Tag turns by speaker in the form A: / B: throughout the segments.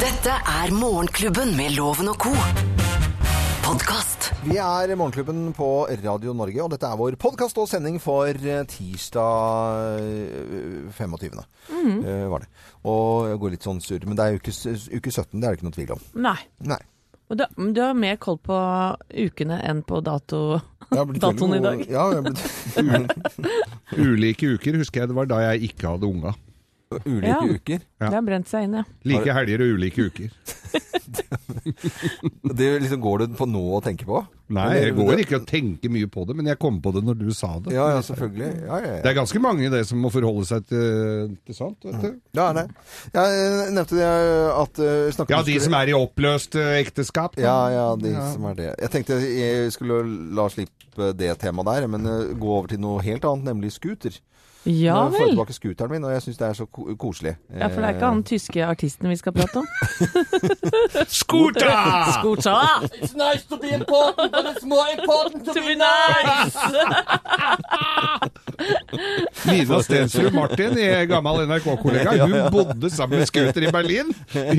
A: Dette er Morgenklubben med Loven og Co. Podkast.
B: Vi er Morgenklubben på Radio Norge, og dette er vår podkast og sending for eh, tirsdag eh, 25.
C: Mhm.
B: eh, var det. Og jeg går litt sånn surr, men det er uke, s- uke 17, det er det ikke noe tvil om.
C: Nei.
B: Nei.
C: Og da, men du har mer koll på ukene enn på dato.
B: Jeg har blitt veldig
C: Datoen i dag.
B: god- Ja, jeg har blitt
D: Ulike uker husker jeg det var da jeg ikke hadde unga.
B: ulike
C: Ja.
B: uker.
D: Ja.
C: Det har brent seg inn, ja.
D: Like helger og ulike uker.
B: Det liksom går du på nå og tenker på?
D: Nei, jeg går ikke og tenker mye på det, men jeg kom på det når du sa det.
B: Ja, ja, selvfølgelig. Ja, ja, ja.
D: Det er ganske mange i det som må forholde seg til, til sånt, vet du.
B: Ja, er det. Jeg eh, nevnte det eh, at eh, snakket
D: Ja,
B: om
D: de
B: skulle-
D: som er i oppløst eh, ekteskap. da.
B: Ja, ja, de som er det. Jeg tenkte jeg skulle la slippe det temaet der, men eh, gå over til noe helt annet, nemlig scooter.
C: Ja
B: Nå får jeg
C: vel.
B: tilbake scooteren min, og jeg syns det er så ko koselig. Eh,
C: Ja, For det er ikke han tyske artisten vi skal prate om.
D: Skota!
C: Skorta!
E: It's nice to be important, but it's more important to be
D: Nina Stensrud Martin, i gammel NRK-kollega, hun bodde sammen med Scooter i Berlin.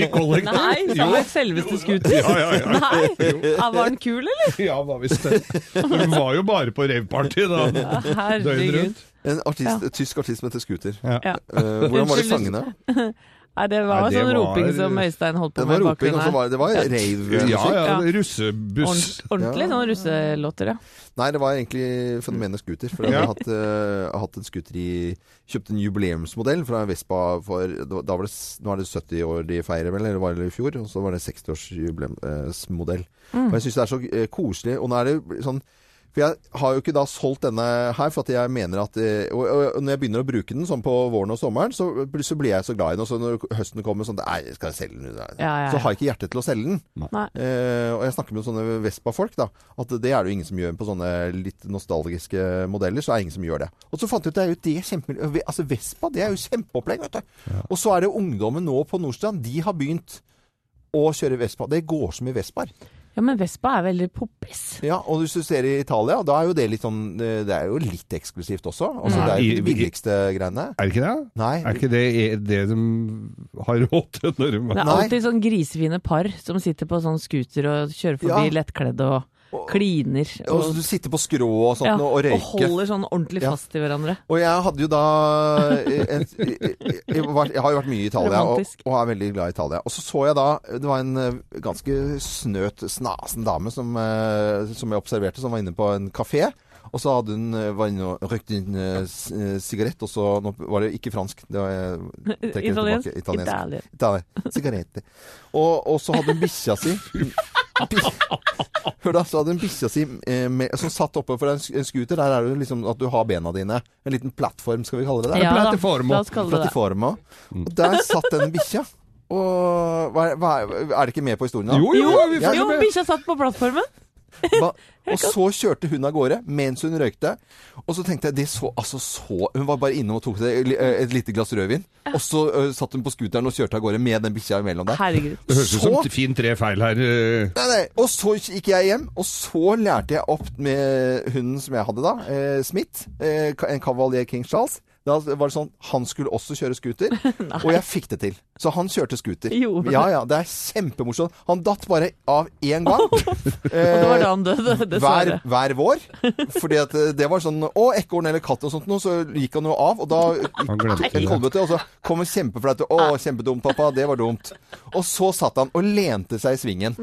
D: I kollektiv.
C: Nei, sa
D: Jo.
C: han selveste Scooter.
D: Ja, ja, ja.
C: Nei, ja, var han kul, eller?
D: ja, hva visst det. Hun var jo bare på raveparty da. Døgnet
C: Herregud.
D: rundt.
B: En artist,
C: Ja.
B: tysk artist som heter Scooter.
C: Ja.
B: Eh, hvordan var det
C: Unnskyld.
B: sangene?
C: Nei, det var
D: Nei, det
C: sånn
D: var-
C: roping som Øystein holdt på
B: Det var
C: med i
B: roping, og så
C: bakgrunnen her.
B: var det, det var rave.
D: Ja, ja,
C: Ja.
D: russebuss.
C: Ordent- Ordentlig sånn russelåter, ja.
B: Nei, det var egentlig fenomenet scooter. For jeg
D: Ja.
B: hadde hatt, eh, hatt en scooter i Kjøpte en jubileumsmodell fra Vespa for det var- da var det, s- Nå er det 70 år de feirer, vel? Eller var det i fjor? Og så var det 60-årsjubileumsmodell.
C: Mm.
B: Og jeg syns det er så eh, koselig. Og nå er det sånn For jeg har jo ikke da solgt denne her, for at jeg mener at eh, og, og, og når jeg begynner å bruke den sånn på våren og sommeren, så plutselig blir jeg så glad i den. Og så når høsten kommer sånn Nei, jeg skal selge den.
C: Ja, ja, ja.
B: Så har jeg ikke hjerte til å selge den.
C: Nei.
B: Eh, og jeg snakker med sånne Vespa-folk, da. At det er det jo ingen som gjør på sånne litt nostalgiske modeller. Så er det ingen som gjør det. Og så fant jeg ut det er jo det kjempe... Altså Vespa, det er jo kjempeopplegg, vet du. Og så er det ungdommen nå på Nordstrand. De har begynt å kjøre Vespa. Det går så mye Vespaer.
C: Ja, men Vespa er veldig poppis.
B: Ja, og hvis du ser i Italia, da er jo det litt sånn eh, Det er jo litt eksklusivt også. Altså,
D: Mm.
B: Det er jo ikke de
D: I- i-
B: billigste greiene.
D: Er det ikke det?
B: Nei.
D: Er ikke det e- det de har råd til når de
C: Det er
B: Nei.
C: alltid sånn grisefine par som sitter på sånn scooter og kjører forbi
B: Ja.
C: lettkledde og kliner.
B: Og så du sitter på skrå og sånt
C: ja,
B: og, og
C: og
B: røyker.
C: holder sånn ordentlig
B: Ja.
C: fast i hverandre.
B: Og jeg hadde jo da eh, en, jeg, jeg, var- jeg har jo vært mye i Italia og,
C: Romantisk.
B: og er veldig glad i Italia. Og så så jeg da Det var en eh, ganske snøt, snasen dame som, eh, som jeg observerte, som var inne på en kafé. Og så hadde hun, eh, var inne og røykte inn eh, s- eh, sigarett, og så Nå var det ikke fransk, det var jeg trekker det
C: Italiensk.
B: tilbake. Italiensk.
C: Italia.
B: Italia. Sigarette. Og, og så hadde hun bikkja si Hør da, så hadde hun bikkja si eh, med, som satt oppe for en, sk- en scooter. Der er det jo liksom at du har bena dine. En liten plattform, skal vi kalle det. Der.
C: Ja da,
D: plattform
C: la
D: og-
C: oss kalle det det.
B: Plattforma.
D: Mm.
B: Og der satt den bikkja. Og hva er, hva er, er det ikke med på historien? da?
D: Jo, jo, vi
B: Ja,
D: følger
C: Jo,
D: med.
C: bikkja satt på plattformen.
B: Hva- Og så kjørte hun av gårde mens hun røykte. Og så tenkte jeg det så, altså, så Hun var bare innom og tok seg li- eh, et lite glass rødvin. Og så eh, satt hun på scooteren og kjørte av gårde med den bikkja imellom der.
C: Herregud.
D: Det høres ut som
B: Så-
D: t- fin tre feil her. eh.
B: Nei, nei. Og så gikk jeg hjem, og så lærte jeg opp med hunden som jeg hadde da, eh, Smith, eh, ka- en kavalier King Charles. Da var det sånn, Han skulle også kjøre scooter, og jeg fikk det til. Så han kjørte scooter.
C: Jo.
B: Ja, ja, Det er kjempemorsomt. Han datt bare av én gang.
C: Og det
B: Eh,
C: var da han døde,
B: hver,
C: dessverre.
B: hver vår. Fordi at eh, det var sånn Å, ekorn eller katt og sånt noe. Så gikk han jo av, og da
D: Han glemte
B: en
D: det.
B: kolbøtte, og så kom en kjempeflaut. Å, kjempedumt, pappa. Det var dumt. Og så satt han og lente seg i svingen.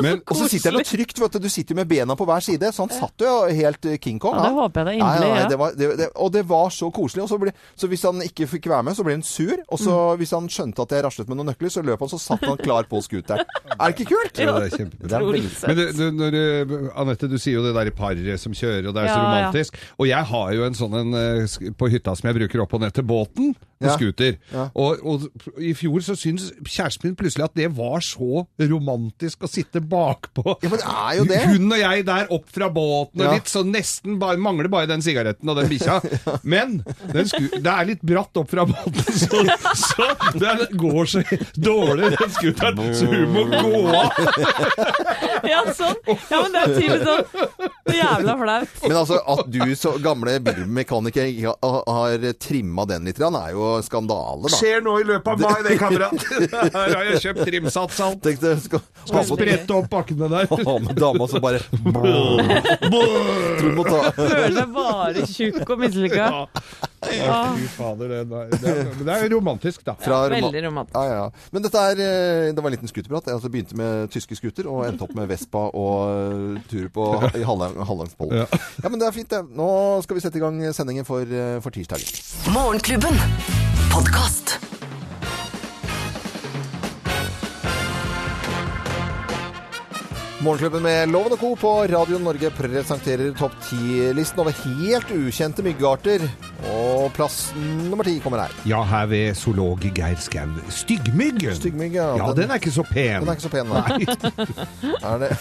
D: Men
B: Og så sitter han jo trygt, vet du. Du sitter jo med bena på hver side. Så han satt jo helt eh, King Kong.
C: Ja, det håper jeg
B: Nei,
C: da inderlig,
B: nei,
C: ja.
B: det var, det, det, og det var så koselig. Og så, ble, så hvis han ikke fikk være med, så ble han sur. Og så
C: Mm.
B: hvis han skjønte at jeg raslet med noen nøkler, så løp han, så satt han klar på scooteren. Er det ikke kult?
D: Ja, det er kjempebra.
C: Utrolig søtt.
D: Men det, det, når, eh, Anette, du sier jo det der paret som kjører, og det er så
C: Ja, ja.
D: romantisk. Og jeg har jo en sånn en eh, sk- på hytta som jeg bruker opp og ned til båten, på
B: Ja.
D: scooter.
B: Ja.
D: Og, og i fjor så syntes kjæresten min plutselig at det var så romantisk å sitte bakpå.
B: Ja, men det er jo det.
D: Hun og jeg der opp fra båten og
B: Ja.
D: litt, så nesten bare, mangler bare den sigaretten og den bikkja. Men den sku, det er litt bratt opp fra båten, så, så den går så dårlig, den scooteren, så hun må gå av.
C: Ja, sånn. Ja, men det er tydelig sånn. Det er jævla flaut.
B: Men altså, at du så gamle bilmekaniker ikke har, har trimma den litt, grann, er jo jo skandale, da.
D: Skjer nå i løpet av mai, det, kamerat. Her har jeg kjøpt trimsats alt.
B: Tenk deg, skal, skal
D: Skal
B: ha med,
D: sprette opp pakkene der.
B: ha med dama som bare Du må ta
C: Føler meg bare tjukk og mislykka.
D: Ja. Fy fader, det, nei, det, er- men det er jo romantisk, da.
B: fra Roma-
C: Veldig romantisk.
B: Ja, ja. Men dette er eh, Det var en liten skuterprat. Jeg altså begynte med tyske skuter og endte opp med Vespa og eh, tur på i Hallang- Hallangspollen.
D: Ja.
B: Ja. men det er fint, det. Nå skal vi sette i gang sendingen for, eh, for tirsdagen.
A: Morgenklubben. Podkast.
B: Morgenklubben med Loven og Co. på Radio Norge presenterer topp 10-listen over helt ukjente myggarter. Og plass nummer ti kommer her.
D: Ja, her ved zoolog Geir Skau. Styggmyggen.
B: Styggmygg, ja.
D: Ja,
B: Den-
D: den er ikke så pen.
B: Den er ikke så pen, nei. Er, det,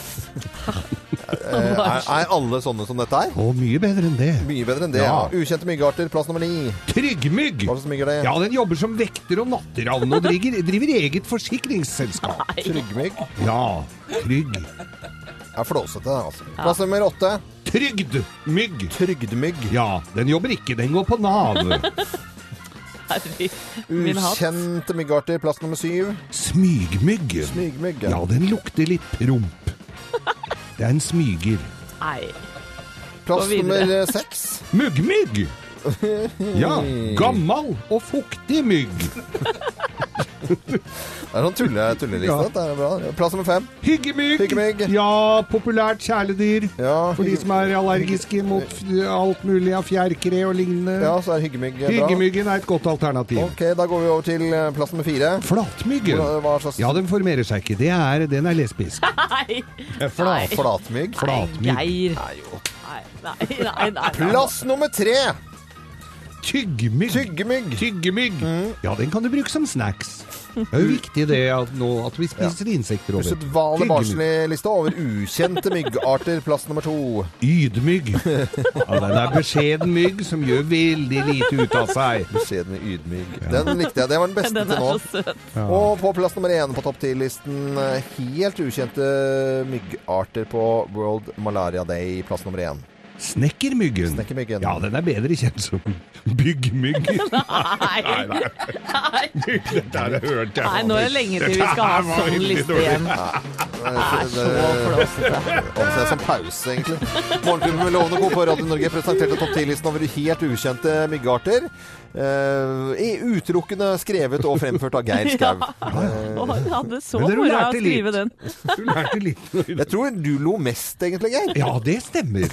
B: Eh, er, er alle sånne som dette er?
D: Å, mye bedre enn det.
B: Mye bedre enn det. Ja.
D: Ja.
B: Ukjente myggarter, plass nummer ni.
D: Tryggmygg.
B: Hva slags mygg er det?
D: Ja, den jobber som vekter og natteravn og driver, driver eget forsikringsselskap.
B: Tryggmygg.
D: Ja, trygg.
B: er flåsete, den, altså. Plass nummer åtte.
D: Trygdmygg.
B: Trygdmygg.
D: Ja, den jobber ikke, den går på Nav.
C: Herregud. Min hatt.
B: Ukjente myggarter. Plass nummer syv.
D: Smygmygg.
B: Smygmygg.
D: Ja, den lukter litt promp. Det er en smyger.
C: Nei.
B: Plass
C: Gå videre.
B: nummer eh, seks.
D: Muggmygg! Ja, gammal og fuktig mygg.
B: Det er sånn tulle, tulleliste.
D: Ja.
B: Dette er bra. Plass nummer fem.
D: Hyggemygg.
B: Hyggemygg.
D: Ja, populært kjæledyr.
B: Ja,
D: For de som er allergiske mot f- alt mulig av fjærkre og lignende.
B: ja så er hyggemygg eh, bra.
D: Hyggemyggen er et godt alternativ.
B: Ok, da går vi over til eh, plass nummer fire.
D: Flatmyggen.
B: Hva- hva slags-
D: Ja, den formerer seg ikke. Det er, den er lesbisk.
C: Nei.
B: Fla- Flatmygg.
D: Flatmygg.
C: Geir. Nei, nei, nei. nei.
B: Plass nummer tre.
D: Tyggmygg.
B: Tyggemygg.
D: Tyggemygg.
B: Mm.
D: Ja, den kan du bruke som snacks. Det er jo viktig det at, nå, at vi spiser insekter over.
B: Usedvanlig
D: Tyggemygg.
B: barnslig liste over ukjente myggarter. Plass nummer to.
D: Ydmygg. Ja, den er beskjeden mygg som gjør veldig lite ut av seg.
B: Beskjeden med ydmygg. Den likte jeg. Det var den beste
C: Den
B: til
C: er
B: nå.
C: så søt.
B: Og på plass nummer én på topp 10-listen helt ukjente myggarter på World Malaria Day. Plass nummer én.
D: Snekkermyggen.
B: Snekkermyggen.
D: Ja, den er bedre kjent som byggmygg.
C: Nei.
D: Dette har jeg hørt,
C: Nei, nå er det lenge til vi skal ha
D: Dette her var
C: sånn
D: veldig
C: liste
D: dårlig.
C: igjen.
B: Eh, Det-
C: Så
B: det-
C: flåsete.
B: Anser jeg som pause, egentlig. Morgenklubben med Lovende Co. på Radio Norge presenterte topp 10-listen over helt ukjente myggarter. eh, i utelukkende skrevet og fremført av Geir Skau.
C: Å, jeg hadde så
D: Men dere
C: moro av å
D: lærte
C: skrive
D: litt.
C: den.
D: Du lærte litt.
B: Jeg tror du lo mest, egentlig, Geir.
D: Ja, det stemmer,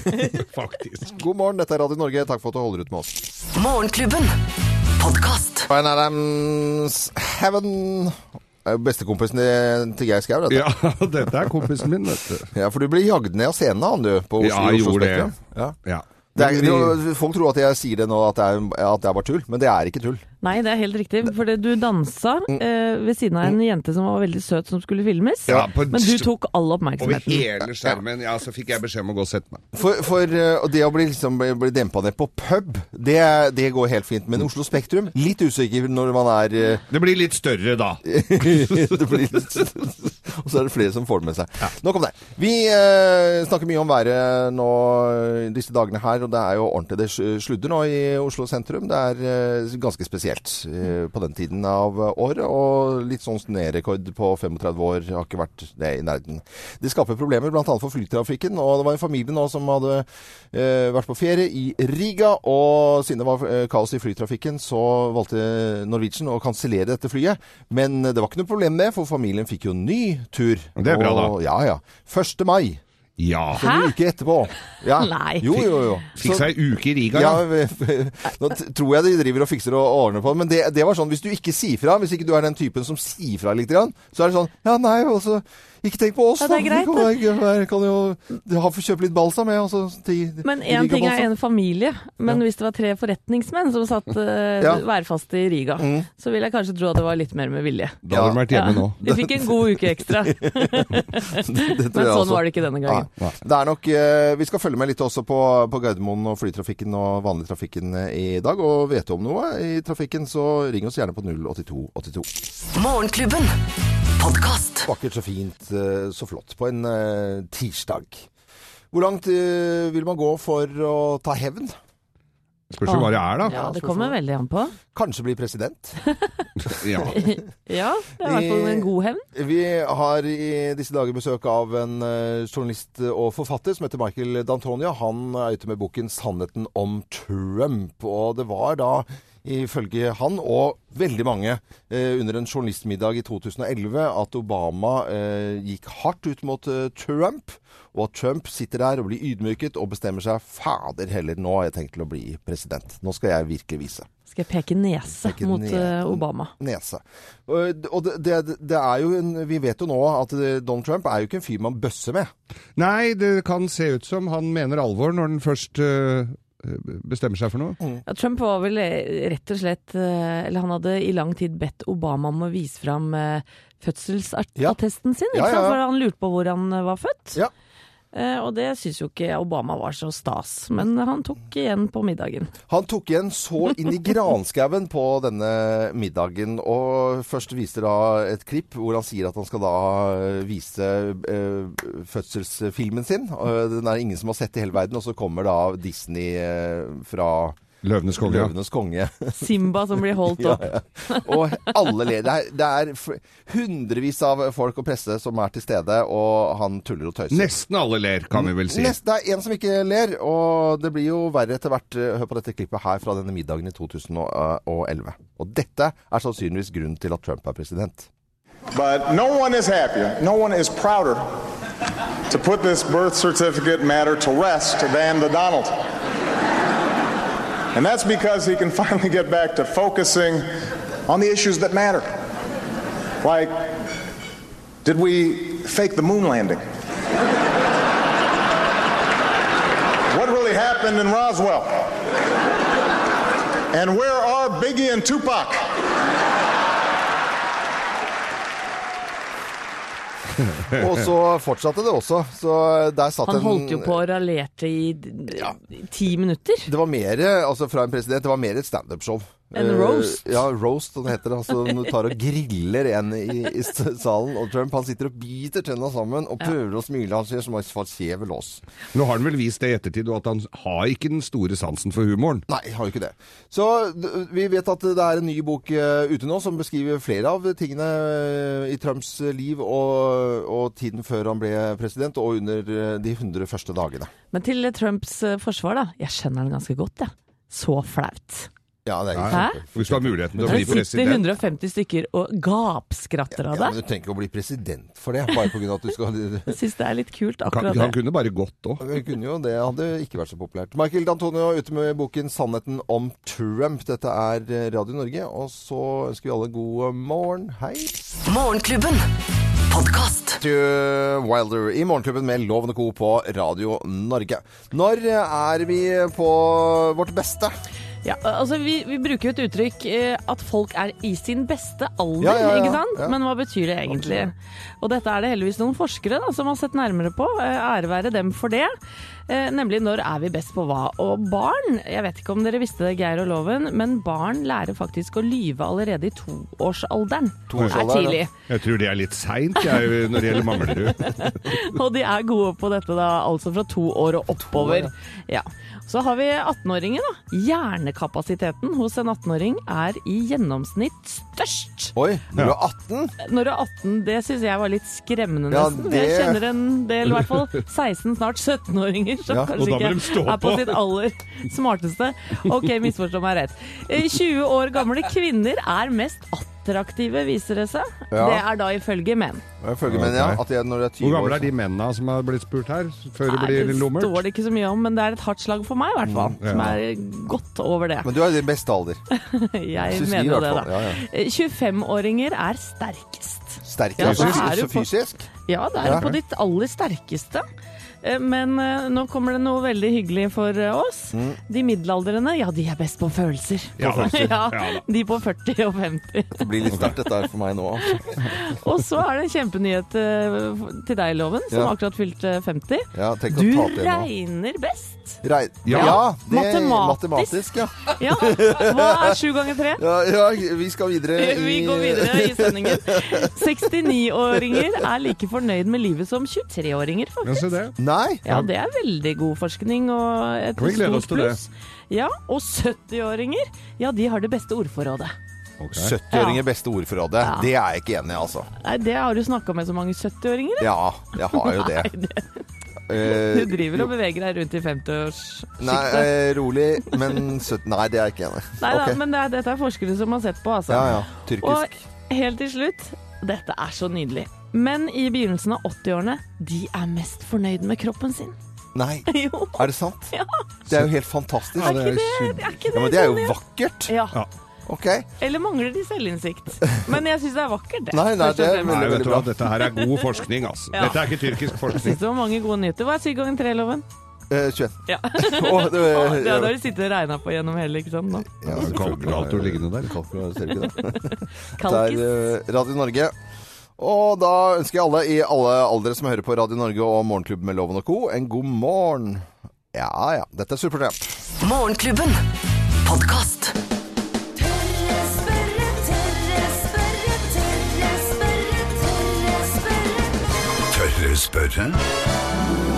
D: faktisk.
B: God morgen, dette er Radio Norge. Takk for at du holder ut med oss.
A: Morgenklubben. Podkast.
B: Bryan Adams, Heaven Er jo Bestekompisen eh, til- til Geir Skau, dette.
D: Ja, dette er kompisen min, vet du.
B: Ja, for du ble jagd ned av scenen, han du, på Oslo,
D: Ja, jeg
B: Oslo
D: gjorde
B: Spektrum.
D: det.
B: Ja.
D: Ja.
B: Det er, det, folk tror at jeg sier det nå, at det, er, at det er bare tull, men det er ikke tull.
C: Nei, det er helt riktig. For det- du dansa
D: Mm.
C: eh, ved siden av en jente som var veldig søt, som skulle filmes.
D: Ja, på en
C: Men du
D: st-
C: tok all
D: Over
C: oppmerksomheten.
D: hele skjermen, ja, så fikk jeg beskjed om å gå og sette meg.
B: For, for eh, og det å bli, liksom, bli- bli dempa ned på pub, det, det går helt fint.
D: Mm.
B: Men Oslo Spektrum, litt usikker når man er eh,
D: Det blir litt større da.
B: det blir litt, Og så er det flere som får det med seg. Nå kom det. Vi eh, snakker mye om været nå eh, disse dagene her, og det er jo ordentlig det sl- sludder nå i Oslo sentrum. Det er eh, ganske spesielt eh, på den tiden av året, og litt sånn snørekord på 35 år har ikke vært det i nærheten. Det skaper problemer bl.a. for flytrafikken, og det var en familie nå som hadde eh, vært på ferie i Riga, og siden det var eh, kaos i flytrafikken, så valgte Norwegian å kansellere dette flyet. Men det var ikke noe problem med, for familien fikk jo en ny tur.
D: Det er bra, da.
B: Og, ja, ja. 1. mai.
D: Ja.
B: Så en
C: Hæ?
B: uke etterpå. Ja.
C: Nei.
B: Jo, jo, jo.
D: Fikk
B: Så-
D: seg uke i Riga,
B: ja,
D: ja.
B: nå t- tror jeg de driver og fikser og ordner på det, men det, det var sånn, hvis du ikke sier fra, hvis ikke du er den typen som sier fra litt, grann, så er det sånn, ja nei, altså, ikke tenk på oss
C: Ja,
B: da,
C: det er
B: vi
C: greit,
B: kan,
C: da.
B: jeg, kan jo du har fått kjøpe litt balsam med, altså, til,
C: Men én ting er en familie, men hvis det var tre forretningsmenn som satt eh,
B: Ja.
C: værfaste i Riga, så vil jeg kanskje tro at det var litt mer med vilje.
D: Da hadde de vært hjemme Mm. nå.
C: De fikk en god uke ekstra, men sånn var det ikke denne gangen.
B: Nei. Det er nok, eh, Vi skal følge med litt også på, på Gardermoen og flytrafikken og vanlig trafikken eh, i dag. Og vet du om noe i trafikken, så ring oss gjerne på 08282.
A: Morgenklubben. Podkast.
B: Vakkert, så fint, eh, så flott på en eh, tirsdag. Hvor langt eh, vil man gå for å ta hevn?
D: Spørs jo hva det er, da.
C: Ja, det kommer
D: sånn.
C: veldig an på.
B: Kanskje bli president.
D: Ja.
C: Ja, det er i hvert fall en god hevn.
B: Vi har i disse dager besøk av en eh, journalist og forfatter som heter Michael D'Antonia. Han er ute med boken 'Sannheten om Trump'. Og det var da, ifølge han og veldig mange, eh, under en journalistmiddag i 2011 at Obama eh, gikk hardt ut mot eh, Trump. Og at Trump sitter der og blir ydmyket og bestemmer seg 'fader heller, nå har jeg tenkt til å bli president'. Nå skal jeg virkelig vise
C: Skal jeg peke nese
B: Peke
C: mot
B: nese.
C: eh, Obama?
B: nese. Og og det, det, det er jo en, Vi vet jo nå at eh, Donald Trump er jo ikke en fyr man bøsser med.
D: Nei, det kan se ut som han mener alvor når han først øh, bestemmer seg for noe.
C: Ja, Trump var vel eh, rett og slett eh, Eller han hadde i lang tid bedt Obama om å vise fram eh,
B: Ja.
C: fødselsattesten sin, ikke
B: Ja, ja,
C: sant?
B: ja.
C: for han lurte på hvor han eh, var født.
B: Ja.
C: Eh, Og det syns jo ikke Obama var så stas, men han tok igjen på middagen.
B: Han tok igjen så inn i granskauen på denne middagen, og først viser da et klipp hvor han sier at han skal da eh, vise eh, fødselsfilmen sin. Og Den er ingen som har sett i hele verden, og så kommer da Disney eh, fra
D: Løvenes konge. ja.
B: Løvenes konge.
C: Simba som blir holdt
B: Ja,
C: opp.
B: ja. Og alle ler. Det er, det er f- hundrevis av folk og presse som er til stede, og han tuller og tøyser.
D: Nesten alle ler, kan vi vel si.
B: Nest, det er en som ikke ler, og det blir jo verre etter hvert. Hør på dette klippet her fra denne middagen i 2011. Og dette er sannsynligvis grunnen til at Trump er president.
F: But no one is happier, no one is prouder to put this birth certificate matter to rest than the Donald. And that's because he can finally get back to focusing on the issues that matter. Like, did we fake the moon landing? What really happened in Roswell? And where are Biggie and Tupac?
B: Og så fortsatte det også. Så der satt
C: Han
B: en
C: holdt jo på og raljerte i d- ti minutter.
B: Det var mer altså fra en president, det var mer et standup-show.
C: En
B: Eh,
C: roast.
B: ja, roast, som det heter. Altså, du tar og griller en i, i s- salen. Og Trump han sitter og biter tenna sammen og prøver å smile. Han ser som han skjer ved lås.
D: Nå har han vel vist det i ettertid, og at han har ikke den store sansen for humoren.
B: Nei, har jo ikke det. Så d- vi vet at det er en ny bok eh, ute nå som beskriver flere av tingene eh, i Trumps liv og, og tiden før han ble president, og under eh, de 100 første dagene.
C: Men til Trumps eh, forsvar, da. Jeg skjønner han ganske godt, jeg. Så flaut.
B: Ja, det er
C: Hæ?
D: Hvis du har muligheten til å bli
C: Det sitter
D: president.
C: 150 stykker og gapskratter
B: Ja,
C: av
B: men
C: det.
B: du trenger ikke å bli president for det, bare pga. at du skal
C: Jeg syns det er litt kult,
D: Kan,
C: akkurat
D: han
C: det.
D: kunne bare gått òg.
B: Vi kunne jo det, hadde ikke vært så populært. Michael D'Antonio ute med boken 'Sannheten om Trump'. Dette er eh, Radio Norge, og så ønsker vi alle god eh, morgen. Hei.
A: Morgenklubben. Podkast.
B: Matthew Wilder i Morgenklubben med Loven og Co. på Radio Norge. Når eh, er vi på vårt beste?
C: Ja, altså, vi, vi bruker jo et uttrykk eh, at folk er i sin beste alder,
B: Ja, ja, ja,
C: ikke sant?
B: ja.
C: Men hva betyr det egentlig? Og dette er det heldigvis noen forskere da, som har sett nærmere på. Eh, ære være dem for det. Eh, nemlig når er vi best på hva? Og barn, jeg vet ikke om dere visste det, Geir og Loven, men barn lærer faktisk å lyve allerede i toårsalderen.
B: Toårsalderen,
C: er tidlig.
B: ja.
D: Jeg tror det er litt seint jeg, når det gjelder Manglerud.
C: Og de er gode på dette, da. Altså fra to år og oppover. ja. Så har vi 18-åringen, da. Hjernekapasiteten hos en 18-åring er i gjennomsnitt størst.
B: Oi, når du er 18?
C: Når du er 18, det syns jeg var litt skremmende,
B: Ja,
C: nesten.
B: det-
C: Jeg kjenner en del, i hvert fall 16, snart 17-åringer, som
B: Ja, og
D: da
C: kanskje
D: må de
C: ikke
D: stå
C: er på
D: på.
C: sitt aller smarteste. OK, misforstå meg rett. Eh, 20 år gamle kvinner er mest attraktive, viser det seg.
B: Ja.
C: Det er da ifølge menn.
B: Følger med, ja. At jeg, når du er 20
D: Hvor
B: år
D: gamle er de mennene som har blitt spurt her, før det
C: Nei,
D: blir
C: det står
D: lummert?
C: det ikke så mye om, men det er et hardt slag for meg i hvert fall.
D: Mm, ja.
C: Som er godt over det.
B: Men du er i din beste alder.
C: Jeg
B: Synes vi i
C: mener
B: hvert
C: jo det,
B: fall.
C: da.
B: Ja, ja.
C: Eh, 25-åringer er sterkest.
B: Sterk
C: Ja, så
B: fysisk.
C: er du
B: Så
C: på-
B: fysisk.
C: Ja, det er
B: Ja.
C: jo på ditt aller sterkeste. Eh, Men eh, nå kommer det noe veldig hyggelig for eh, oss.
B: Mm.
C: De middelaldrende, ja, de er best på følelser.
D: Ja, følelser.
C: ja,
D: Ja, da.
C: de på 40 og 50.
B: Det blir litt sterkt dette her for meg nå. altså.
C: Og så er det en kjempenyhet eh, til deg, Loven, som
B: Ja.
C: akkurat fylte 50.
B: Ja, tenk
C: Du
B: å ta til nå.
C: regner best.
B: Rei-
D: Ja.
B: det, matematisk.
C: Matematisk.
B: ja.
C: Ja, hva er sju ganger tre?
B: Ja, ja. Vi skal videre i
C: Eh, Vi går videre i sendingen. 69-åringer er like fornøyd med livet som 23-åringer,
D: Ja,
C: faktisk.
D: se det.
B: Nei!
C: Ja, det er veldig god forskning og et
D: Kan vi glede
C: stort
D: oss til det?
C: pluss. Ja, og 70-åringer, ja de har det beste ordforrådet.
D: Ok.
B: 70-åringer beste ordforrådet. Det er jeg ikke enig i, altså.
C: Nei, det har du snakka med så mange 70-åringer, eller?
B: Ja, jeg har jo det.
C: Du
B: Eh,
C: driver og beveger deg rundt i 50-årssjiktet.
B: nei, eh, rolig, men 70 Nei, det er jeg ikke enig i.
C: Nei da,
B: Ok.
C: men det er, dette er forskere som har sett på, altså.
B: Ja, ja. Tyrkisk.
C: Og helt til slutt, dette er så nydelig. Men i begynnelsen av 80-årene, de er mest fornøyd med kroppen sin.
B: Nei,
C: Jo,
B: er det sant?
C: ja,
B: Det er jo helt fantastisk. Ja,
D: Ja, det
C: ikke
D: er
C: det,
D: sjukt.
C: er ikke det?
B: men det er jo
C: Tonje?
B: vakkert.
C: Ja.
D: Ja.
B: Ok. Eh,
C: Eller mangler de selvinnsikt? Men jeg syns det er vakkert, det.
B: Nei, nei,
C: først og
B: det er
C: fremst.
B: veldig-
D: Nei, vet du hva, dette her er god forskning, altså.
C: Ja.
D: Dette er ikke tyrkisk forskning.
C: Synes det var mange gode nyheter. Hva er syv ganger tre-loven?
B: Eh, 21.
C: Ja.
B: Å, det,
C: Det hadde du sittet og regna på gjennom hele, ikke sant? Nå.
B: Ja,
D: Ja, kalkulator liggende der.
B: Kalkulator, ser du ikke det?
C: Kalkis.
B: Det er eh, Radio Norge. Og da ønsker jeg alle i alle aldre som hører på Radio Norge og Morgenklubben med Loven og Co., en god morgen. Ja ja, dette er superprogram.
A: Morgenklubben. Podkast.
G: Tørre spørre, tørre spørre, tørre spørre, tørre spørre.
H: Tørre spørre?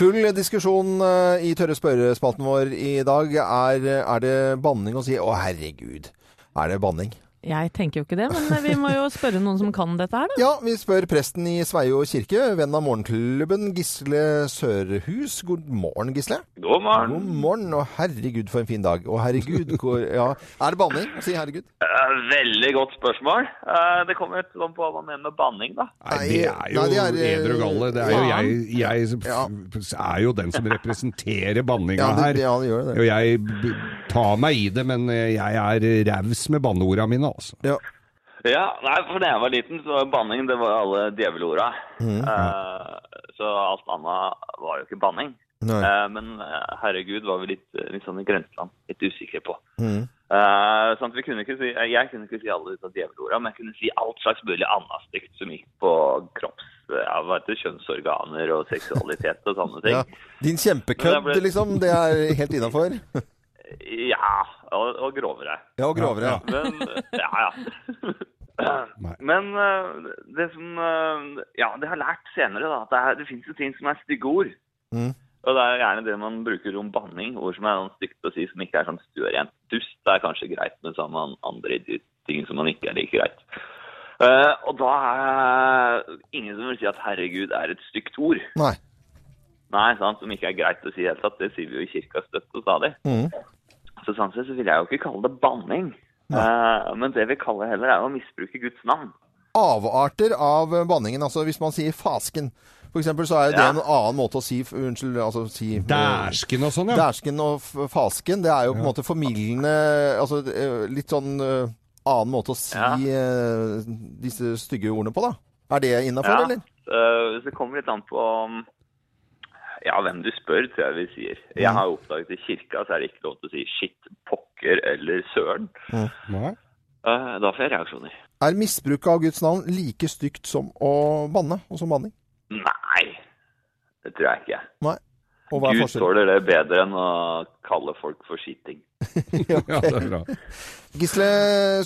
B: Full diskusjon eh, i tørre spørrespalten vår i dag. Er, er det banning å si? Å herregud, er det banning?
C: Jeg tenker jo ikke det, men vi må jo spørre noen som kan dette her, da.
B: Ja, vi spør presten i Sveio kirke, venn av morgenklubben, Gisle Sørhus. God morgen, Gisle.
I: God morgen.
B: God morgen, og herregud for en fin dag. Og herregud, hvor, ja. Er det banning å si herregud?
I: Eh, Veldig godt spørsmål. Eh, Det kommer litt an på hva man mener med banning, da.
D: Nei, det er jo
B: Nei, det er, eh,
D: edru galle. Det er jo jeg, jeg som f- er jo den som representerer banninga
B: Ja, det-
D: her.
B: ja, det gjør det.
D: Og jeg b- tar meg i det, men eh, jeg er raus med banneorda mine, altså.
B: Ja.
I: Ja, nei, for da jeg var liten, så var banning det var alle djevelorda. Eh, Så alt annet var jo ikke banning.
B: Nei.
I: Eh, Men eh, herregud var vi litt, eh, litt sånn i grenseland, litt usikre på.
B: Mhm.
I: Eh, sånn at vi kunne ikke si, eh, jeg kunne ikke si alle disse djevelorda, men jeg kunne si alt slags mulig annet stygt som gikk på kropps, ja, hva heter det, kjønnsorganer og seksualitet og sånne ting.
B: Ja. Din kjempekødd,
I: Men det ble-
B: liksom. Det er helt innafor.
I: Ja, og, og grovere.
B: Ja, og grovere. Ja.
I: Men Ja, ja.
D: Nei.
I: Men eh, det som eh, Ja, det har jeg lært senere, da. At det, er, det fins jo ting som er stygge ord.
B: Mhm.
I: Og det er gjerne det man bruker om banning. Ord som er sånn stygt å si som ikke er sånn stuerent. Dust det er kanskje greit, men så har man andre idiot- ting som man ikke er like greit. Eh, og da er det ingen som vil si at 'herregud' er et stygt ord.
B: Nei.
I: Nei, sant, som ikke er greit å si i det hele tatt. Det sier vi jo i kirka støtt og stadig.
B: Mhm.
I: Så sånn sett så vil jeg jo ikke kalle det banning. Eh, men det vi kaller heller, er å misbruke Guds navn.
B: Avarter av banningen. Altså hvis man sier fasken, for eksempel, så er jo det
I: Ja.
B: en annen måte å si Unnskyld, altså si
D: Dæsken og sånn, ja.
B: Dæsken og f- fasken, det er jo på en måte formildende Altså eh, litt sånn eh, annen måte å si
I: Ja.
B: eh, disse stygge ordene på, da. Er det innafor,
I: Ja.
B: eller?
I: Eh, så det kommer litt an på um, ja, hvem du spør, tror jeg vi sier.
B: Mm.
I: Jeg har jo oppdaget i kirka så er det ikke lov til å si shit, pokker eller søren.
D: Nei.
I: Eh, da får jeg reaksjoner.
B: Er misbruk av Guds navn like stygt som å banne, og som banning?
I: Nei, det tror jeg ikke.
B: Nei. Og hva er
I: Gud
B: forskjellen?
I: tåler det bedre enn å kalle folk for skitting.
D: Ja, det er bra.
B: Gisle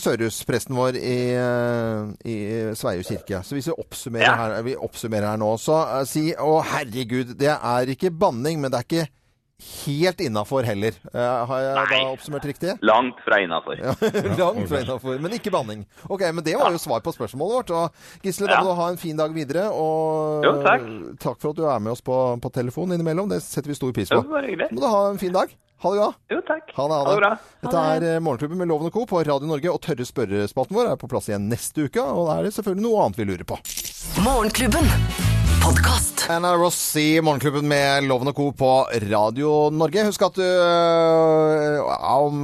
B: Sørhus, presten vår i, eh, i Sveio kirke. Så hvis vi oppsummerer,
I: Ja.
B: her, vi oppsummerer her nå, så eh, si å herregud, det er ikke banning, men det er ikke helt innafor heller. Eh, har jeg
I: Nei.
B: da oppsummert riktig?
I: Langt fra innafor.
B: Langt fra innafor, men ikke banning. Ok, men det var jo svar på spørsmålet vårt. Og Gisle, da
I: Ja.
B: må du ha en fin dag videre. Og
I: Jo, takk.
B: takk for at du er med oss på, på telefon innimellom. Det setter vi stor pris
I: Det
B: på.
I: var bare
B: Så
I: hyggelig.
B: må du ha en fin dag. Ha det bra.
I: Jo, takk.
B: Ha det, ha det.
I: Ha det bra.
B: Dette er eh, Morgenklubben med Loven og Co. på Radio Norge, og Tørre spørrespalten vår er på plass igjen neste uke. Og da er det selvfølgelig noe annet vi lurer på.
A: Morgenklubben. Podkast.
B: Anna Ross i Morgenklubben med Loven og Co. på Radio Norge. Husk at du øh, om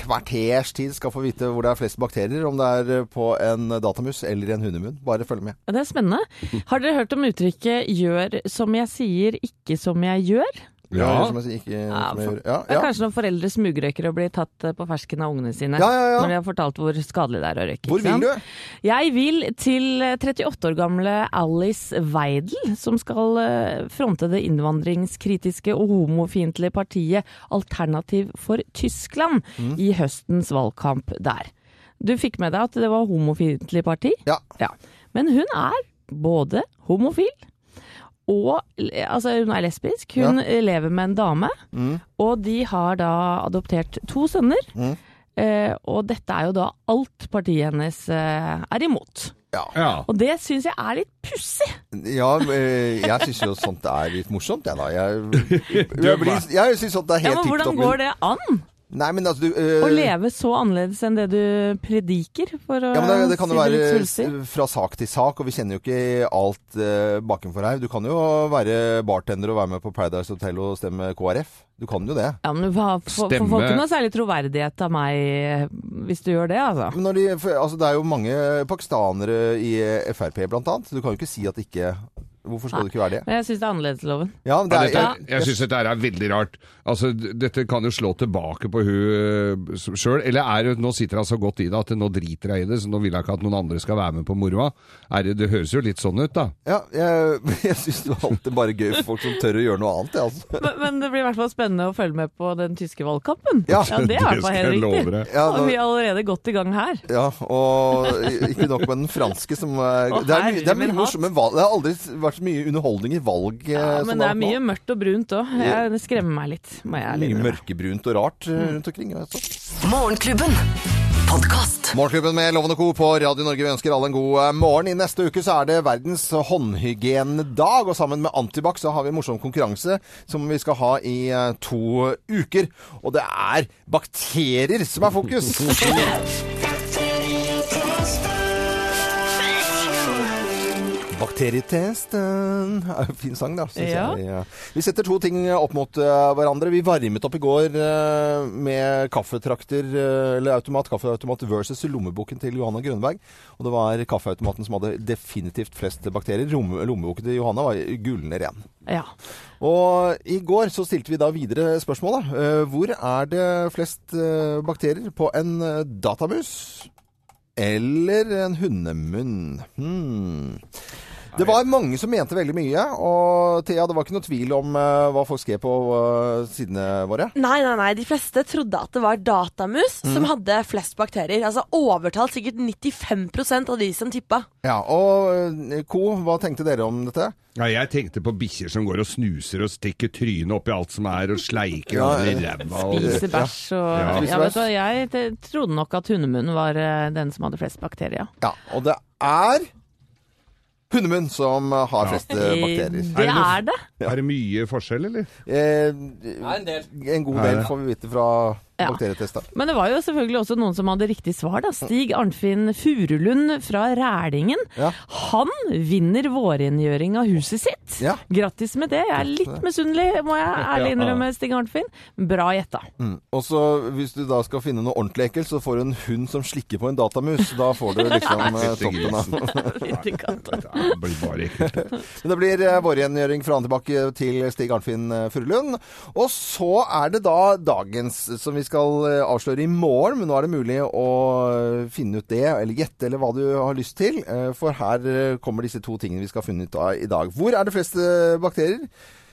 B: kvarters tid skal få vite hvor det er flest bakterier, om det er eh, på en datamus eller en hundemunn. Bare følg med.
C: Det er spennende. Har dere hørt om uttrykket 'gjør som jeg sier, ikke som jeg gjør'?
D: Ja.
B: Gjør som jeg sier, ikke, som jeg gjør. ja,
C: Det er
B: ja.
C: kanskje når foreldre smugrøyker og blir tatt eh, på fersken av ungene sine.
B: Ja, ja, ja.
C: Når de har fortalt hvor skadelig det er å røyke.
B: Hvor
C: ikke sant?
B: vil du?
C: Jeg vil til 38 år gamle Alice Weidel, som skal eh, fronte det innvandringskritiske og homofiendtlige partiet Alternativ for Tyskland i høstens valgkamp der. Du fikk med deg at det var homofiendtlig parti?
B: Ja.
C: Men hun er både homofil og Altså, hun er lesbisk. Hun lever med en dame,
B: Mm.
C: og de har da adoptert to sønner. Eh, og dette er jo da alt partiet hennes eh, er imot.
D: Ja.
C: Og det syns jeg er litt pussig.
B: Ja, men, eh, jeg syns jo sånt er litt morsomt, jeg da. Jeg, jeg, blir- jeg syns sånt er
C: Ja,
B: helt
C: men
B: tipp
C: hvordan
B: topp.
C: går det an?
B: Nei, men altså, du eh,
C: Å leve så annerledes enn det du prediker, for å
B: Ja, men det, det kan jo
C: si det litt
B: være
C: svulstig.
B: s- fra sak til sak, og vi kjenner jo ikke alt eh, bakenfor her. Du kan jo være bartender og være med på Paradise Hotel og stemme KrF. Du kan jo det.
C: Ja, men du får, får,
D: Stemme.
C: får ikke noe særlig troverdighet av meg eh, hvis du gjør det, altså.
B: Men når de, for, altså, det er jo mange pakistanere i eh, Frp blant annet. Du kan jo ikke si at det ikke Hvorfor skal det ikke være det?
C: Men jeg syns det er annerledesloven.
B: Ja, men det
D: Ja,
B: er,
D: dette, jeg syns dette her er veldig rart. Altså, d- Dette kan jo slå tilbake på hun eh, sjøl. Eller er det, nå sitter hun så godt i det at nå driter hun i det, så nå vil hun ikke at noen andre skal være med på moroa. Er Det, det høres jo litt sånn ut, da.
B: ja, jeg, jeg syns det er alltid bare gøy for folk som tør å gjøre noe annet. jeg, Altså.
C: Men, men det blir i hvert fall spennende å følge med på den tyske valgkampen.
B: Ja.
C: det er i hvert fall helt
D: jeg
C: riktig.
D: love
B: Ja,
D: deg.
B: Eh,
C: Og vi er allerede godt i gang her.
B: Ja, og ikke nok med den franske som er,
C: Å,
B: det, er mye, det er
C: herre min
B: mye morsomt, men valg, det har aldri vært så mye underholdning i valg. eh,
C: Ja,
B: som
C: men det
B: har
C: er
B: vært
C: mye
B: nå.
C: mørkt og brunt òg. Det skremmer meg litt. Må jeg ærlig
B: Mye
C: innrømme.
B: mørkebrunt og rart eh,
C: Mm.
B: rundt omkring. Altså.
A: Morgenklubben. Podkast.
B: Morgenklubben med Loven og Co. på Radio Norge, vi ønsker alle en god eh, morgen. I neste uke så er det verdens håndhygienedag, og sammen med Antibac så har vi en morsom konkurranse som vi skal ha i eh, to uker. Og det er bakterier som er fokus! Bakterietesten er jo en fin sang, da. Synes
C: Ja.
B: jeg. Ja. Vi setter to ting opp mot eh, hverandre. Vi varmet opp i går eh, med kaffetrakter, eh, eller automat, kaffeautomat versus lommeboken til Johanna Grønberg. Og det var kaffeautomaten som hadde definitivt flest bakterier. Lomme, lommeboken til Johanna var gullende ren.
C: Ja.
B: Og i går så stilte vi da videre spørsmålet. Eh, Hvor er det flest eh, bakterier på en eh, datamus eller en hundemunn? Hmm. Det var mange som mente veldig mye, og Thea, det var ikke noe tvil om eh, hva folk skrev på eh, sidene våre.
H: Nei, nei, nei, de fleste trodde at det var datamus
B: Mm.
H: som hadde flest bakterier. Altså overtalt sikkert 95 av de som tippa.
B: Ja, og eh, Co, hva tenkte dere om dette?
D: Ja, jeg tenkte på bikkjer som går og snuser og stikker trynet oppi alt som er, og sleiker andre i ræva. og-
C: Spise bæsj og ja.
D: Ja.
C: vet du, hva, Jeg t- trodde nok at hundemunnen var eh, den som hadde flest bakterier.
B: Ja, og det er hundemunn som eh, har flest eh, bakterier.
C: Det
D: Er det noe-
C: er det.
D: Er det mye forskjell, eller?
B: Eh,
E: Nei, en del.
B: En god del får vi vite fra
C: Ja.
B: bakterietester.
C: Men det var jo selvfølgelig også noen som hadde riktig svar. da. Stig Arnfinn Furulund fra Rælingen.
B: Ja.
C: Han vinner vårrengjøring av huset sitt.
B: Ja.
C: Grattis med det. Jeg er litt misunnelig, må jeg ærlig innrømme, Stig Arnfinn. Bra gjetta.
B: Og så Hvis du da skal finne noe ordentlig ekkelt, så får du en hund som slikker på en datamus. Da får du liksom eh,
D: Fytti
B: toppen av
D: grisen.
C: Fytti katta.
D: Det blir bare ekkelt.
B: Men det blir eh, vårrengjøring fra tilbake til Stig Arnfinn eh, Furulund. Og så er det da dagens, som vi skal eh, avsløre i morgen. Men nå er det mulig å eh, finne ut det, eller gjette, eller hva du har lyst til. eh, For her eh, kommer disse to tingene vi skal finne ut av i dag. Hvor er det flest eh, bakterier?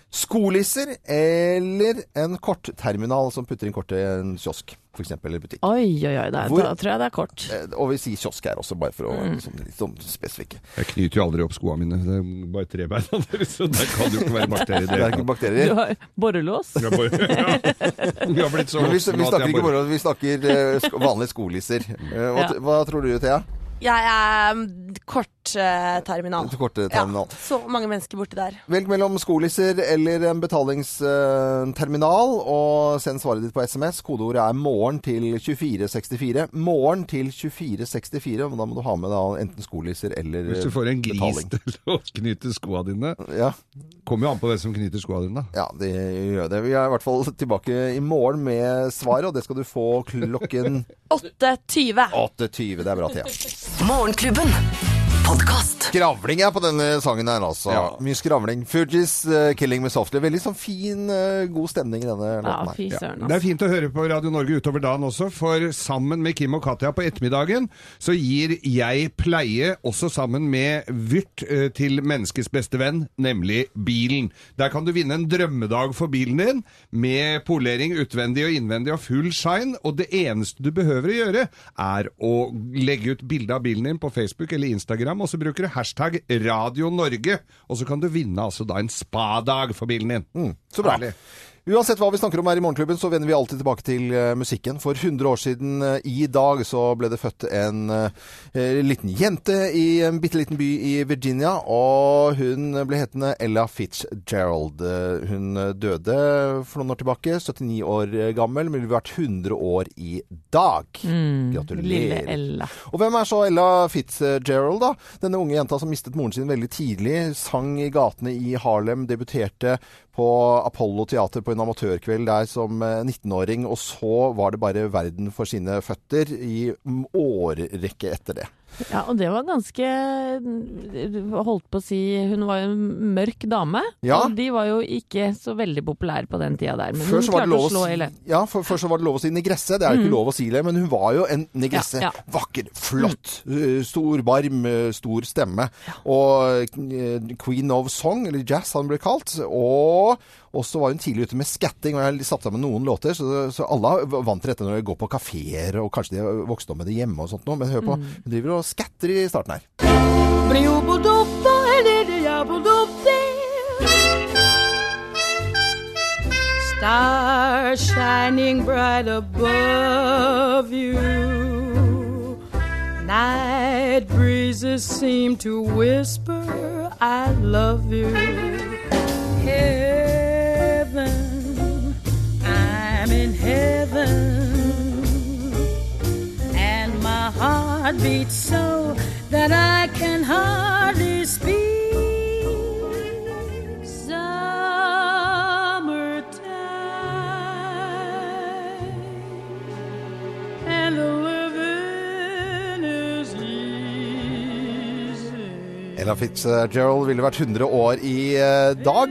B: Skolisser eller en kortterminal som putter inn kortet i en kiosk, f.eks. eller butikk.
C: Oi, oi, oi. Da,
B: Hvor-
C: da tror jeg det er kort.
B: Eh, Og vi sier kiosk her også, bare for å være
C: Mm.
B: litt sånn- litt sånn spesifikke.
D: Jeg knyter jo aldri opp skoene mine. Det er bare trebeina deres, så der kan det jo ikke være bakterier.
B: Det
D: i
B: er
D: hele tatt.
B: ikke
C: Du
B: bakterier.
C: har borrelås.
D: Jeg bare, ja. Vi har blitt så
B: Men vi,
D: voksne
B: vi
D: at
B: snakker ikke
D: jeg bare- Mm.
B: moro, vi snakker eh, sk vanlige skolisser. Eh, hva,
C: Ja.
B: t- hva tror du, Thea?
H: Jeg er mm, kortterminal.
B: Til kortterminal.
H: så mange mennesker borti der.
B: Velg mellom skolisser eller en betalingsterminal, og send svaret ditt på SMS. Kodeordet er 'morgen' til 2464. Morgen til 2464, og da må du ha med da enten skolisser eller eh,
D: Hvis du får en gris
B: betaling.
D: til å knyte skoa dine
B: Ja.
D: Kommer jo an på hvem som knyter skoa dine, da.
B: Ja, det gjør det. Vi er i hvert fall tilbake i morgen med svaret, og det skal du få klokken
H: 8,20.
B: 8.20. Det er bra, Thea.
A: Morgenklubben. Podkast.
B: Skravling er på denne sangen her, altså.
D: Ja.
B: Mye skravling. Fugees, eh, 'Killing Me Softly'. Veldig sånn fin, eh, god stemning i denne
C: Ja,
B: låten her.
C: fy
D: Ja.
C: søren.
D: Det
C: Altså.
D: er fint å høre på Radio Norge utover dagen også, for sammen med Kim og Katja på ettermiddagen så gir Jeg pleie også sammen med Vyrt eh, til menneskets beste venn, nemlig bilen. Der kan du vinne en drømmedag for bilen din, med polering utvendig og innvendig og full shine, og det eneste du behøver å gjøre er å legge ut bilde av bilen din på Facebook eller Instagram Instagram, og så bruker du hashtag Radio Norge. Og så kan du vinne altså da en spadag for bilen din. Mm.
B: Så bra.
D: Herlig.
B: Uansett hva vi snakker om her i Morgenklubben, så vender vi alltid tilbake til eh, musikken. For 100 år siden eh, i dag så ble det født en eh, liten jente i en bitte liten by i Virginia, og hun ble hetende Ella Fitzgerald. Eh, Hun døde for noen år tilbake, 79 år eh, gammel, men hun har vært 100 år i dag. Gratulerer.
C: Mm. Lille Ella.
B: Og hvem er så Ella Fitzgerald, da? Denne unge jenta som mistet moren sin veldig tidlig, sang i gatene i Harlem, debuterte på Apollo Teater på en amatørkveld der som eh, 19-åring, og så var det bare verden for sine føtter i mm, årrekke etter det.
C: Ja, og det var ganske eh, Holdt på å si Hun var jo en mørk dame.
B: Ja.
C: Og de var jo ikke så veldig populære på den tida der, men
B: Før
C: hun
B: så, var
C: klarte
B: det lov
C: å
B: å,
C: slå
B: si-
C: hele.
B: ja, for, før så var det lov å si negresse. Det er jo ikke lov å si det, men hun var jo en negresse.
C: Ja, Mm. ja.
B: Vakker, flott, eh, stor barm, eh, stor stemme. Og eh, queen of song, eller jazz han ble kalt. Og og så var hun tidlig ute med skatting, og jeg satte sammen noen låter. Så, så alle er vant til dette når de går på kafeer, og kanskje de har vokst opp med det hjemme og sånt noe. Men hør
C: Mm.
B: på, hun driver og skatter i starten her.
G: Stars shining bright above you. Night breezes seem to whisper, I love you. Heaven, I'm in heaven. And my heart beats so that I can hardly speak. Summertime, and the living is easy.
B: Ella Fitzgerald ville vært 100 år i eh, dag.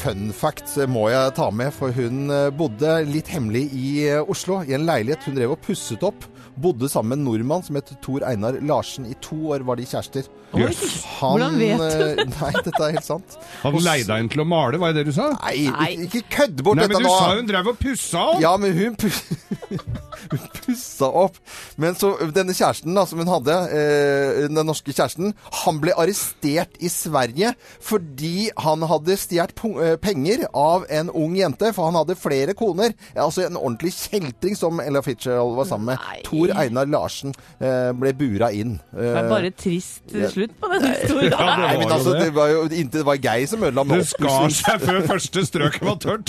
B: Fun fact eh, må jeg ta med, for hun eh, bodde litt hemmelig i eh, Oslo, i en leilighet hun drev og pusset opp. Bodde sammen med en nordmann som het Tor Einar Larsen. I to år var de kjærester.
D: Jøss.
C: Hvordan vet du
B: det? Nei, dette er helt sant.
D: Han leide henne til å male, var det det du sa?
B: Nei,
C: Nei.
B: ikke- ikke kødd bort
D: Nei,
B: dette
D: men du
B: nå!
D: sa hun drev og pussa opp!
B: Ja, men hun, pus hun pussa opp. Men så denne kjæresten da, som hun hadde, eh, den norske kjæresten, han ble arrestert i Sverige fordi han hadde stjålet eh, penger av en ung jente. For han hadde flere koner. Ja, Altså en ordentlig kjeltring som Ella Fitzgerald var sammen med.
C: Nei.
B: Tor Einar Larsen eh, ble bura inn. Eh,
C: Det er bare trist slutt på den historien.
D: Ja,
B: Nei,
D: det var
B: men
D: jo
B: altså,
D: det.
B: det var jo inntil det var Geir som ødela med
D: Det skar
B: opppussing.
D: seg før første strøket var tørt.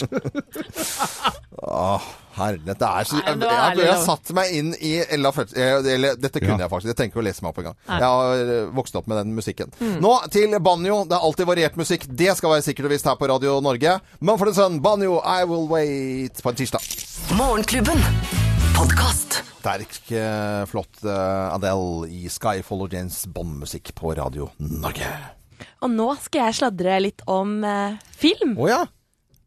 B: Åh, herlighet, det er så
C: Nei,
B: Jeg,
C: men det var
B: jeg,
C: ærlig,
B: jeg
C: da.
B: satte meg inn i Ella Født... Eller, dette kunne
D: Ja.
B: jeg faktisk. Jeg trenger ikke å lese meg opp engang. Jeg har eh, vokst opp med den musikken.
C: Mm.
B: Nå til banjo. Det er alltid variert musikk. Det skal være sikkert og visst her på Radio Norge. Mumford Son, banjo, I Will Wait på en tirsdag.
A: Morgenklubben. Podkast.
B: Sterk, eh, flott eh, Adele i Sky Follow James Bond-musikk på Radio Norge.
H: Og nå skal jeg sladre litt om eh, film.
B: Å ja.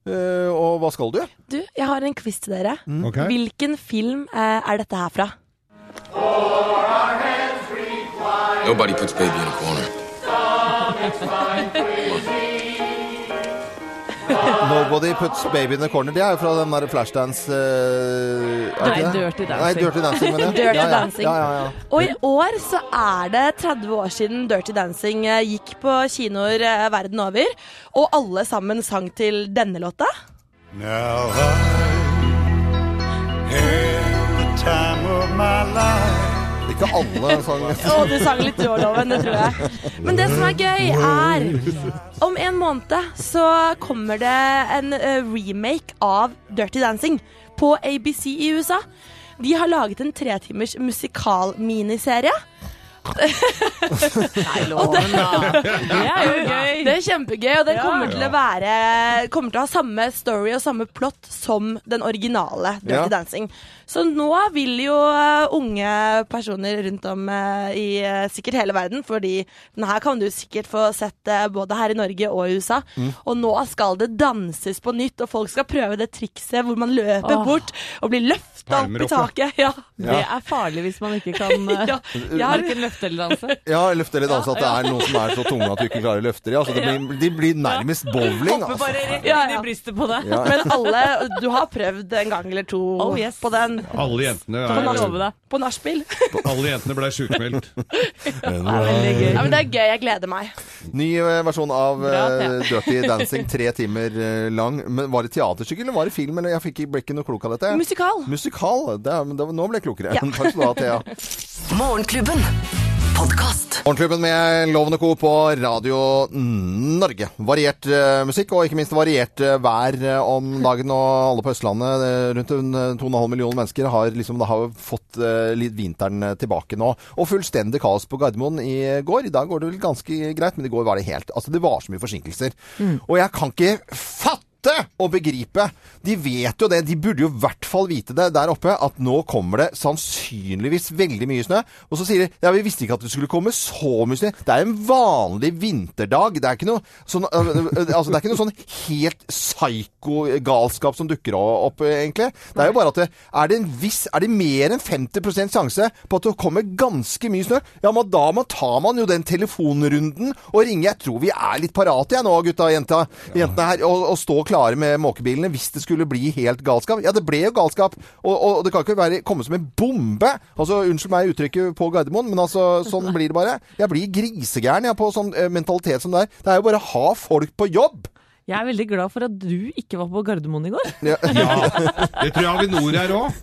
B: Eh, og hva skal du?
H: Du, jeg har en quiz til dere.
D: Ok.
H: Hvilken film eh, er dette her fra?
E: Nobody puts baby in a corner.
B: Nobody Puts Baby in the Corner. Det er jo fra den der Flashdance eh, er det
C: Nei,
B: ikke det?
C: Dirty Dancing.
B: Nei, Dirty Dancing. mener jeg.
H: Dirty
B: ja, ja.
H: Dancing.
B: Ja, ja, ja.
H: Og i år så er det 30 år siden Dirty Dancing eh, gikk på kinoer eh, verden over, og alle sammen sang til denne låta.
J: Now I have the time of my life.
B: Ikke alle sanger.
H: Å, du sang litt du òg, Loven. Det tror jeg. Men det som er gøy, er Om en måned så kommer det en eh, remake av Dirty Dancing på ABC i USA. De har laget en tretimers musikalminiserie.
C: Loven, da. Det er jo gøy.
H: Det er kjempegøy, og den kommer til å være Kommer til å ha samme story og samme plott som den originale Dirty
B: Ja.
H: Dancing. Så nå vil jo eh, unge personer rundt om eh, i eh, sikkert hele verden, fordi den her kan du sikkert få sett eh, både her i Norge og i USA. Og nå skal det danses på nytt, og folk skal prøve det trikset hvor man løper
C: Åh.
H: bort og blir løfta opp
D: Palmer
H: i
D: opp,
H: taket. Ja.
C: Det er farlig hvis man ikke kan eh,
H: Ja, jeg har,
C: verken Løfte eller danse.
B: Ja, løfte eller danse. altså, At det er noen som er så tunge at du ikke klarer å løfte dem. Altså, det blir, de blir nærmest bowling.
C: Hopper
B: Altså.
C: bare rett
H: Ja,
C: inn
H: ja.
C: i brystet på deg.
B: Ja.
H: Men alle Du har prøvd en gang eller to
C: Oh, yes.
H: på den.
D: Alle jentene,
H: På
D: er,
C: love
H: nachspiel.
C: deg.
H: På nachspiel.
D: alle jentene ble sjukmeldt.
H: Ja, men det er gøy. Jeg gleder meg.
B: Ny eh, versjon av
C: Bra,
B: eh, Dirty Dancing, tre timer eh, lang. Men var det teaterstykke, eller var det film? Eller jeg fikk ble ikke noe klok av dette.
H: Musikal.
B: Musikal. Det, er- men det, nå ble jeg klokere. Takk skal du ha, Thea.
A: Morgenklubben. Podkast.
B: Morgenklubben med Loven og Co. på Radio Norge. Variert eh, musikk, og ikke minst variert eh, vær eh, om dagen. Og alle på Østlandet, eh, rundt en, eh, 2,5 millioner mennesker, har liksom da har fått eh, litt vinteren eh, tilbake nå. Og fullstendig kaos på Gardermoen i går. I dag går det vel ganske greit, men i går var det helt Altså, det var så mye forsinkelser. Og jeg kan ikke fatte fatte og begripe. De vet jo det, de burde jo i hvert fall vite det der oppe, at nå kommer det sannsynligvis veldig mye snø. Og så sier de ja, vi visste ikke at det skulle komme så mye snø. Det er en vanlig vinterdag. Det er ikke noe sånn, øh, øh, altså, det er ikke noe sånn helt psyko-galskap som dukker o- opp, øh, egentlig. Det er jo bare at det, er det en viss Er det mer enn 50 sjanse på at det kommer ganske mye snø, ja, men da må- tar man jo den telefonrunden og ringer. Jeg tror vi er litt parate, jeg nå, gutta og jenta, jentene her. Og, og stå klare med måkebilene hvis det skulle bli helt galskap. Ja, det ble jo galskap. Og, og det kan ikke være, komme som en bombe. Altså, unnskyld meg uttrykket på Gardermoen, men altså, sånn blir det bare. Jeg blir grisegæren jeg, på sånn eh, mentalitet som det er. Det er jo bare å ha folk på jobb!
C: Jeg er veldig glad for at du ikke var på Gardermoen i går.
B: Ja,
D: Ja, det tror jeg Avinor er òg.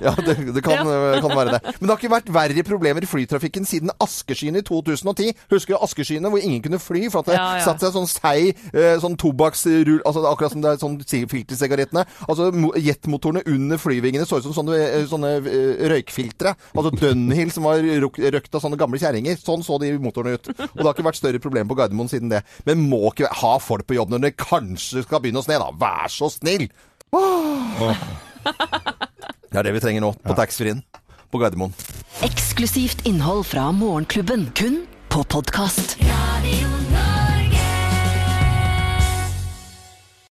B: ja det, det kan, eh, kan være det. Men det har ikke vært verre problemer i flytrafikken siden askeskyene i 2010. Husker du askeskyene hvor ingen kunne fly for at det
C: Ja, ja.
B: satt seg sånn seig eh, sånn tobakksrull altså Akkurat som det er sånn si- filtersigarettene. Altså mo- jetmotorene under flyvingene så ut som sånne, eh, sånne eh, røykfiltre. Altså Dunhill som var ruk- røkt av sånne gamle kjerringer. Sånn så de motorene ut. Og det har ikke vært større problem på Gardermoen siden det. Men må ikke ha folk på jobb når det kanskje skal begynne å sne, da. Vær så snill! Det er det vi trenger nå, på taxfree-en på Gardermoen.
A: Eksklusivt innhold fra Morgenklubben. Kun på podkast.